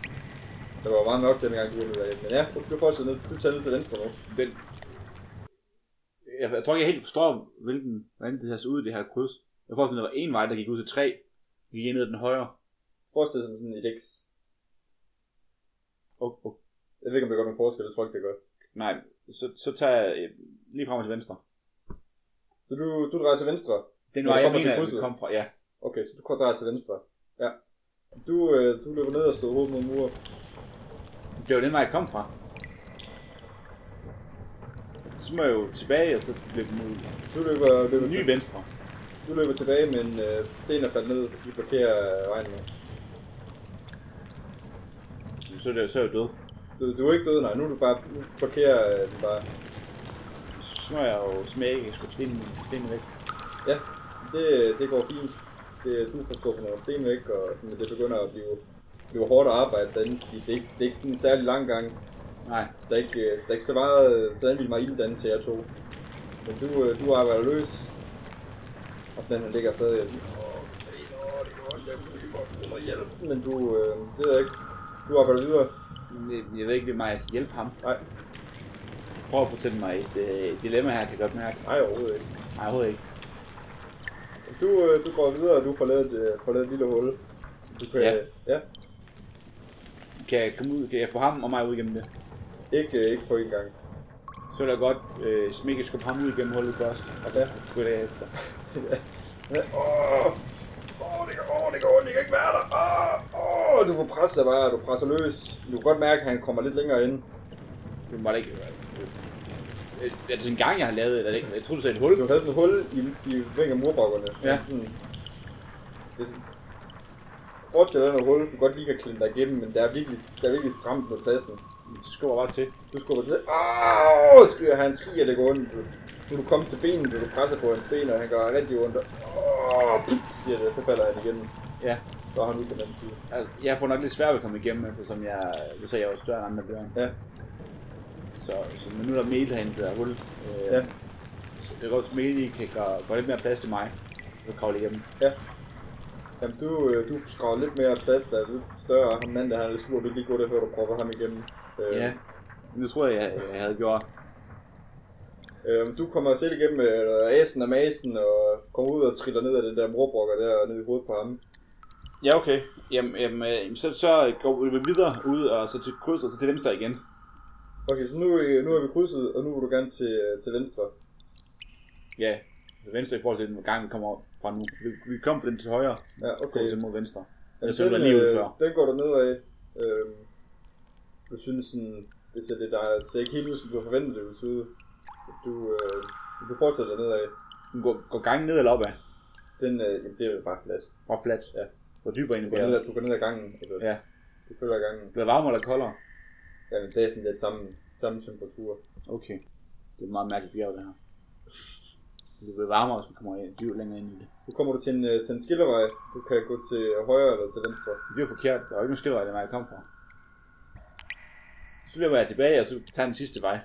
[SPEAKER 2] Der var meget mørkt dengang, du var ude af. Men ja, du, du fortsætter ned. Du tager ned til venstre nu.
[SPEAKER 1] Den... Jeg, jeg tror ikke, jeg helt forstår, hvilken, hvordan det her ser ud, det her kryds. Jeg tror, at der var en vej, der gik ud til tre. Vi gik ned ad den højre.
[SPEAKER 2] Forestil dig som sådan et X.
[SPEAKER 1] Og, og,
[SPEAKER 2] Jeg ved ikke, om det gør nogen forskel. Jeg tror ikke, det gør.
[SPEAKER 1] nej, så, så tager jeg øh, lige frem og til venstre.
[SPEAKER 2] Så du, du drejer til venstre.
[SPEAKER 1] Den
[SPEAKER 2] Når
[SPEAKER 1] vej,
[SPEAKER 2] du
[SPEAKER 1] jeg
[SPEAKER 2] kommer til
[SPEAKER 1] mener, at vi
[SPEAKER 2] krydset.
[SPEAKER 1] kom fra. Ja,
[SPEAKER 2] Okay, så du kan dreje til venstre. Ja. Du, øh, du løber ned og stod hovedet mod muren.
[SPEAKER 1] det var den vej, jeg kom fra. Så må jeg jo tilbage, og så løbe mod
[SPEAKER 2] Du løber, løber,
[SPEAKER 1] ny
[SPEAKER 2] til,
[SPEAKER 1] venstre.
[SPEAKER 2] du løber tilbage, men øh, stenen er faldet ned. Vi blokerer øh, vejen nu.
[SPEAKER 1] Jamen, Så er, det, så er jeg jo død.
[SPEAKER 2] Du, du er ikke død, nej. Nu er du bare nu blokerer øh, du bare.
[SPEAKER 1] Så må jeg jo smække, skubbe stenen, stenen væk.
[SPEAKER 2] Ja, det, det går fint. Det, du får skubbet nogle sten væk, og men det begynder at blive, blive hårdt arbejde derinde. fordi Det, er ikke- det er ikke sådan en særlig lang gang.
[SPEAKER 1] Nej,
[SPEAKER 2] Der er ikke, øh, der er ikke så meget, øh, så vildt meget ild derinde til jer to. Men du, øh, du arbejder løs. Og den her ligger stadig. Åh, det er ondt, det er ondt, jeg bliver brug for hjælp. Men du, øh, det ved jeg ikke. Du arbejder videre.
[SPEAKER 1] men jeg, jeg ved ikke, det er mig at hjælpe ham.
[SPEAKER 2] Nej.
[SPEAKER 1] Prøv at fortælle mig et øh, dilemma her, kan jeg godt mærke.
[SPEAKER 2] Nej, overhovedet ikke.
[SPEAKER 1] Nej, overhovedet ikke.
[SPEAKER 2] Du, øh, du går videre, og du får lavet, et, øh, får lavet et lille hul. Du kan,
[SPEAKER 1] Ja.
[SPEAKER 2] ja.
[SPEAKER 1] Kan jeg komme ud, kan jeg få ham og mig ud igennem det?
[SPEAKER 2] Ikke, øh, ikke på en gang.
[SPEAKER 1] Så vil jeg godt øh, smække skubbe ham ud igennem hullet først, og så
[SPEAKER 2] Ja.
[SPEAKER 1] følger jeg efter.
[SPEAKER 2] Åh, åh, det gør ondt, det gør ondt, det kan ikke være der. Åh, åh, du får presset bare, du presser løs. Du kan godt mærke, at han kommer lidt længere ind.
[SPEAKER 1] Det var da ikke... Øh, øh, er det sådan en gang, jeg har lavet det, eller er det ikke? Jeg tror, du sagde et hul.
[SPEAKER 2] Du havde sådan et hul i, i ring af murbakkerne.
[SPEAKER 1] Ja.
[SPEAKER 2] Sådan, det er sådan, Prøv til den hul, du godt lige kan klinde dig igennem, men der er virkelig, der er virkelig stramt på pladsen.
[SPEAKER 1] Så skubber jeg bare til.
[SPEAKER 2] Du skubber til, åh, skriger han, skriger det går ondt. Nu er du kommet til benet, og du presser på hans ben, og han gør rigtig ondt. Åh, pip, siger det, og så falder han igennem.
[SPEAKER 1] Ja.
[SPEAKER 2] Så er han ud på den anden side.
[SPEAKER 1] Altså, jeg får nok lidt svært ved at komme igennem, eftersom jeg... Du sagde, jeg var større end andre bjørn.
[SPEAKER 2] Ja.
[SPEAKER 1] Så, så men nu er der mel herinde, i det der hul. Øh,
[SPEAKER 2] Ja.
[SPEAKER 1] Så jeg går til mel, I kan gøre, gøre lidt mere plads til mig. Så kravle igennem.
[SPEAKER 2] Jamen, du, øh, du skraver lidt mere plads, der er lidt større. Ham mand, der han er lidt sur, vil lige gå det før du propper ham igennem. Øh,
[SPEAKER 1] Ja. Nu tror jeg, jeg, jeg havde gjort.
[SPEAKER 2] Øhm, du kommer selv igennem øh, asen og masen og kommer ud og triller ned af den der morbrokker der og ned i hovedet på ham.
[SPEAKER 1] Ja, okay. Jamen, jamen øh, så, så går vi videre ud og så til kryds og så til venstre igen.
[SPEAKER 2] Okay, så nu, øh, nu er vi krydset, og nu vil du gerne til, øh, til venstre.
[SPEAKER 1] Ja, til venstre i forhold til den gang, vi kommer fra nu. Vi, vi kom fra den til højre,
[SPEAKER 2] Ja,
[SPEAKER 1] og går
[SPEAKER 2] okay.
[SPEAKER 1] til mod venstre.
[SPEAKER 2] Jamen,
[SPEAKER 1] Jeg så den
[SPEAKER 2] den,
[SPEAKER 1] lige ud
[SPEAKER 2] øh,
[SPEAKER 1] før.
[SPEAKER 2] den går du ned af. Øhm, du synes sådan, det ser lidt der ser ikke helt ud, som du har forventet det ville se ud. Du, øh, du fortsætter ned af.
[SPEAKER 1] Den går, går gangen ned eller opad?
[SPEAKER 2] Den, øh, jamen, det er jo bare flat.
[SPEAKER 1] Bare fladt.
[SPEAKER 2] Ja.
[SPEAKER 1] Går dybere ind
[SPEAKER 2] Du
[SPEAKER 1] i
[SPEAKER 2] går, ned,
[SPEAKER 1] bjerget.
[SPEAKER 2] ad- du går ned ad gangen. Altså,
[SPEAKER 1] Ja.
[SPEAKER 2] Du følger gangen.
[SPEAKER 1] Bliver varmere eller koldere?
[SPEAKER 2] Jamen, det er sådan lidt samme, samme temperatur.
[SPEAKER 1] Okay. Det er et meget mærkeligt bjerg, det her. Det bliver varmere, hvis vi kommer ind- dybt længere ind i det.
[SPEAKER 2] Nu kommer du til en, øh, til en skillevej. Du kan gå til højre eller til venstre.
[SPEAKER 1] Men Det er jo forkert. Der er jo ikke nogen skillevej, der jeg kom fra. Så løber jeg tilbage, og så tager den sidste vej.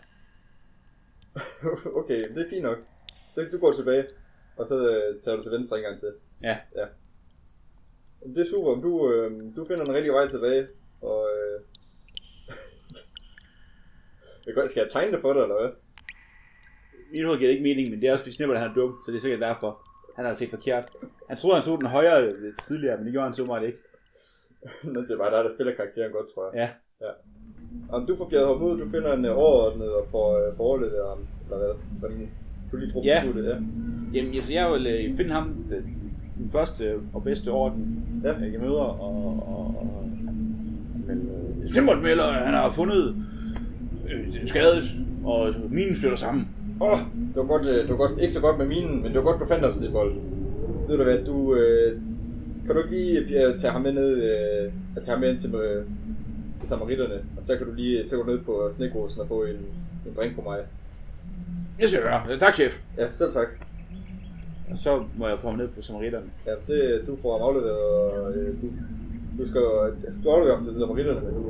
[SPEAKER 2] okay, det er fint nok. Så du går tilbage, og så øh, tager du til venstre en gang til.
[SPEAKER 1] Ja.
[SPEAKER 2] ja. Jamen, Det er super, du, øh, du finder den rigtige vej tilbage, og... Øh... Jeg kan godt- skal jeg tegne det for dig, eller hvad?
[SPEAKER 1] I hoved giver det ikke mening, men det er også fordi Snipper, han er dum, så det er sikkert derfor. Han har set forkert. Han troede, han tog den højere øh, tidligere, men det gjorde han så meget ikke.
[SPEAKER 2] Nå, det er bare dig, der spiller karakteren godt, tror jeg.
[SPEAKER 1] Ja.
[SPEAKER 2] Om du får fjerdet ham ud, du finder en øh, overordnet og får øh, foreleveret ham, eller hvad? Hvordan du lige bruger
[SPEAKER 1] Ja.
[SPEAKER 2] ja. det, ja.
[SPEAKER 1] Jamen, altså, jeg vil øh, finde ham øh, den første og bedste orden,
[SPEAKER 2] Ja.
[SPEAKER 1] ja. jeg møder, og... og, og men, øh, Snipper melder, at han har fundet øh, en skadet, og minen flytter sammen.
[SPEAKER 2] Åh, oh, det var godt, øh, det var godt, ikke så godt med minen, men det var godt, du fandt os lidt bold. Ved du hvad, du, øh, kan du ikke lige øh, tage ham med ned, øh, at tage ham med ind til, øh, til samaritterne, og så kan du lige øh, så gå ned på snekrosen og få en, en drink på mig.
[SPEAKER 1] Jeg skal gøre. Tak, chef.
[SPEAKER 2] Ja, selv tak.
[SPEAKER 1] Og så må jeg få ham ned på samaritterne.
[SPEAKER 2] Ja, det, du får ham afleveret, og øh, du, du skal jeg skal aflevere ham til samaritterne, men du,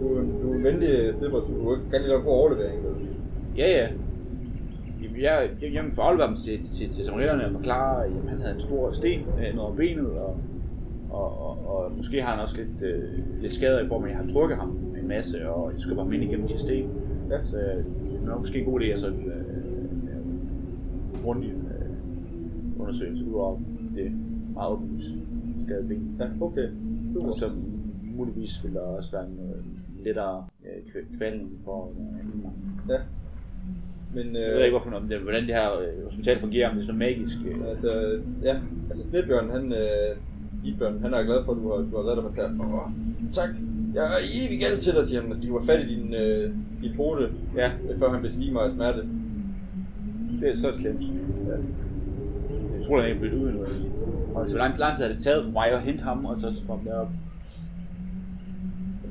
[SPEAKER 2] du, du er en venlig snipper, du du kan lige lave en god overlevering. ved du.
[SPEAKER 1] Ja, ja. Jamen, jeg, jeg, jeg får afleveret ham til, til, til samaritterne og forklare, at jamen, han havde en stor sten øh, ned over benet, og, og, og, og måske har han også lidt, øh, lidt skader i form af, at jeg har trukket ham en masse, og jeg skubber ham ind igennem de her sten.
[SPEAKER 2] Ja.
[SPEAKER 1] Så øh, det er nok måske en god idé at sådan øh, øh, grundig øh, undersøgelse, udover det meget åbenlyst skadede ben.
[SPEAKER 2] Ja, okay.
[SPEAKER 1] Og
[SPEAKER 2] Super.
[SPEAKER 1] så muligvis vil der også være en øh, lettere øh, kvæ- kvalm for øh, inden.
[SPEAKER 2] Men, øh,
[SPEAKER 1] Jeg ved ikke, hvorfor, om det, hvordan det her øh, hospital fungerer, om det er sådan noget magisk. Øh.
[SPEAKER 2] Altså, ja. Altså, Snebjørn, han... Øh, Isbjørn, han er glad for, at du har, du har reddet dig fortalt. Åh, tak. Jeg er evig galt til dig, siger han. og De var fat i din, øh, din pote,
[SPEAKER 1] Ja,
[SPEAKER 2] øh, før han besvimer af smerte.
[SPEAKER 1] det er så slemt. Ja. Jeg tror, han er blevet ude nu. Og så hvor lang, lang tid har det taget for mig at hente ham, og så komme derop.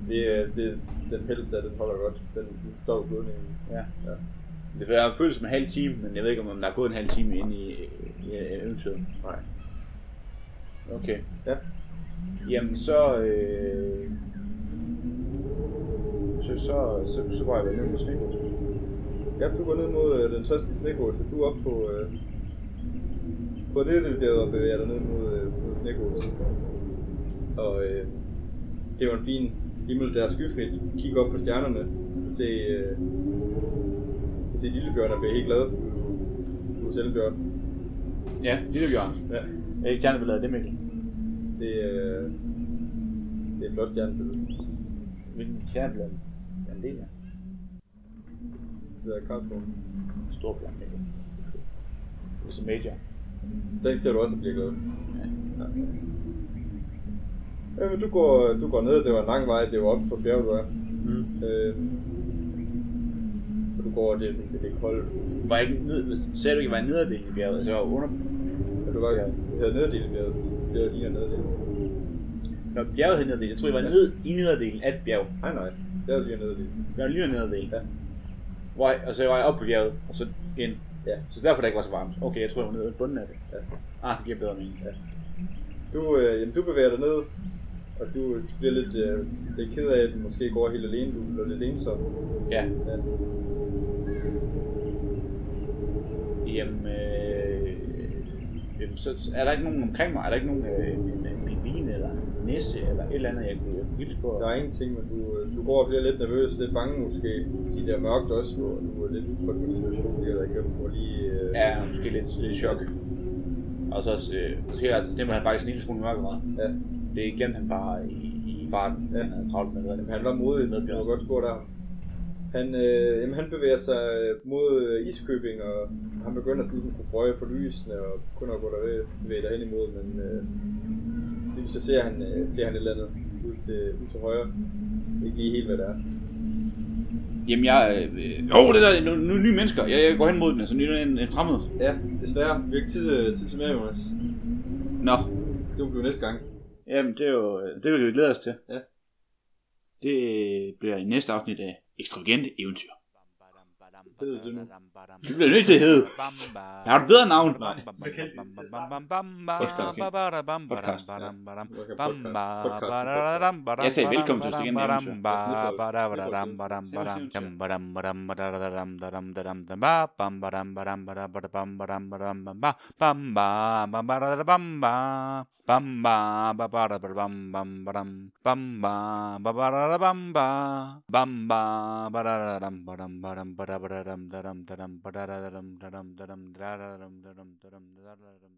[SPEAKER 2] Det, øh, det, den pels der, den holder godt. Den den står i blødningen.
[SPEAKER 1] Det har føles som en halv time, men jeg ved ikke, om der er gået en halv time ind i, i, i eventyret.
[SPEAKER 2] Nej.
[SPEAKER 1] Okay.
[SPEAKER 2] Ja.
[SPEAKER 1] Jamen så... Øh, så, så, så, så var jeg vel nede på snegåsen.
[SPEAKER 2] Ja, du går ned mod øh, den tørstige snegås, og du er oppe på... Øh, på det, det bliver og bevæger dig ned mod, øh, mod snegåsen. Og øh, det var en fin himmel, der er skyfrit. Kig op på stjernerne, og se, øh, kan se Lillebjørn og bliver helt glad. Du er selv bjørn.
[SPEAKER 1] Ja, lille Bjørn.
[SPEAKER 2] Ja.
[SPEAKER 1] Jeg er ikke gerne vil lave det, Mikkel.
[SPEAKER 2] Det, øh, det er et flot stjernebillede.
[SPEAKER 1] Hvilken stjernebjørn? Jamen det er
[SPEAKER 2] Det er Karlsborg.
[SPEAKER 1] en stor bjørn, Mikkel. Det er så major.
[SPEAKER 2] Den ser du også bliver glad. Ja. Ja. men du går, du går ned, det var en lang vej, det var oppe på bjerget, du er.
[SPEAKER 1] Mm.
[SPEAKER 2] Øh, og du går, det er sådan, det er lidt koldt.
[SPEAKER 1] Var jeg ikke ned, sagde du ikke, at jeg var nede af det i bjerget? Altså, jeg var under...
[SPEAKER 2] Og du var, ja. det havde neddelt bjerget. Det var lige neddelt.
[SPEAKER 1] Når bjerget hed nederdelen, jeg tror, jeg var nede i nederdelen af et bjerg.
[SPEAKER 2] Nej, nej. Det var lige neddelt.
[SPEAKER 1] Jeg var lige nede nederdelen.
[SPEAKER 2] Ja.
[SPEAKER 1] Hvor jeg, og så var jeg oppe på bjerget, og så ind.
[SPEAKER 2] Ja.
[SPEAKER 1] Så derfor det ikke var så varmt. Okay, jeg tror, jeg var nede i bunden af det.
[SPEAKER 2] Ja.
[SPEAKER 1] Ah, det giver bedre mening. Ja.
[SPEAKER 2] Du, øh, jamen, du bevæger dig ned, og du, du bliver lidt, øh, lidt ked af, at du måske går helt alene. Du bliver lidt ensom.
[SPEAKER 1] ja.
[SPEAKER 2] Ja.
[SPEAKER 1] Jamen, øh, jamen, så så er der ikke nogen omkring mig, er der ikke nogen øh, pingvin eller en næse eller et eller andet, jeg kunne jeg kunne hilse på.
[SPEAKER 2] Der er ingenting, men du, øh, du går og bliver lidt nervøs, lidt bange måske. De der mørkt også, og du er lidt utryg på situationen, der igennem, og lige... Øh,
[SPEAKER 1] Ja, måske lidt, lidt chok. Og så, også, øh, så her, altså, stemmer han faktisk en lille smule mørkere.
[SPEAKER 2] Ja.
[SPEAKER 1] Det glemte han bare i, i farten, ja.
[SPEAKER 2] Ja.
[SPEAKER 1] han havde travlt med det.
[SPEAKER 2] Jamen, han var modig,
[SPEAKER 1] Med
[SPEAKER 2] det var
[SPEAKER 1] Bjørn.
[SPEAKER 2] godt spurgt der. Han, øh, jamen, han bevæger sig øh, mod øh, Iskøbing, og han begynder at ligesom kunne bøje på lysene, og begynder at gå derved, bevæge derhen imod, men øh, lige så ser han, øh, ser han et eller andet ud til, ud til højre. Ikke lige helt, hvad det er.
[SPEAKER 1] Jamen jeg, øh, jo, det der er nogle nye- nye mennesker, jeg, jeg går hen mod den, altså nu er en, en fremmed.
[SPEAKER 2] Ja, desværre. Vi har ikke tid, øh, tid til mere, Jonas.
[SPEAKER 1] Nå,
[SPEAKER 2] Det må blive næste gang.
[SPEAKER 1] jamen det er jo, øh, det vil vi glæde os til.
[SPEAKER 2] Ja.
[SPEAKER 1] Det bliver i næste afsnit af Ekstravagante Eventyr.
[SPEAKER 2] Hedder det nu?
[SPEAKER 1] Det bliver nødt til at hedde. Har du et bedre navn?
[SPEAKER 2] Nej.
[SPEAKER 3] Hvad kaldte vi det til at starte
[SPEAKER 1] Podcast. Podcast, ja.
[SPEAKER 2] Nu kan jeg podcast- podcast-
[SPEAKER 1] Jeg sagde velkommen til Stigen Eventyr.
[SPEAKER 4] Podcast.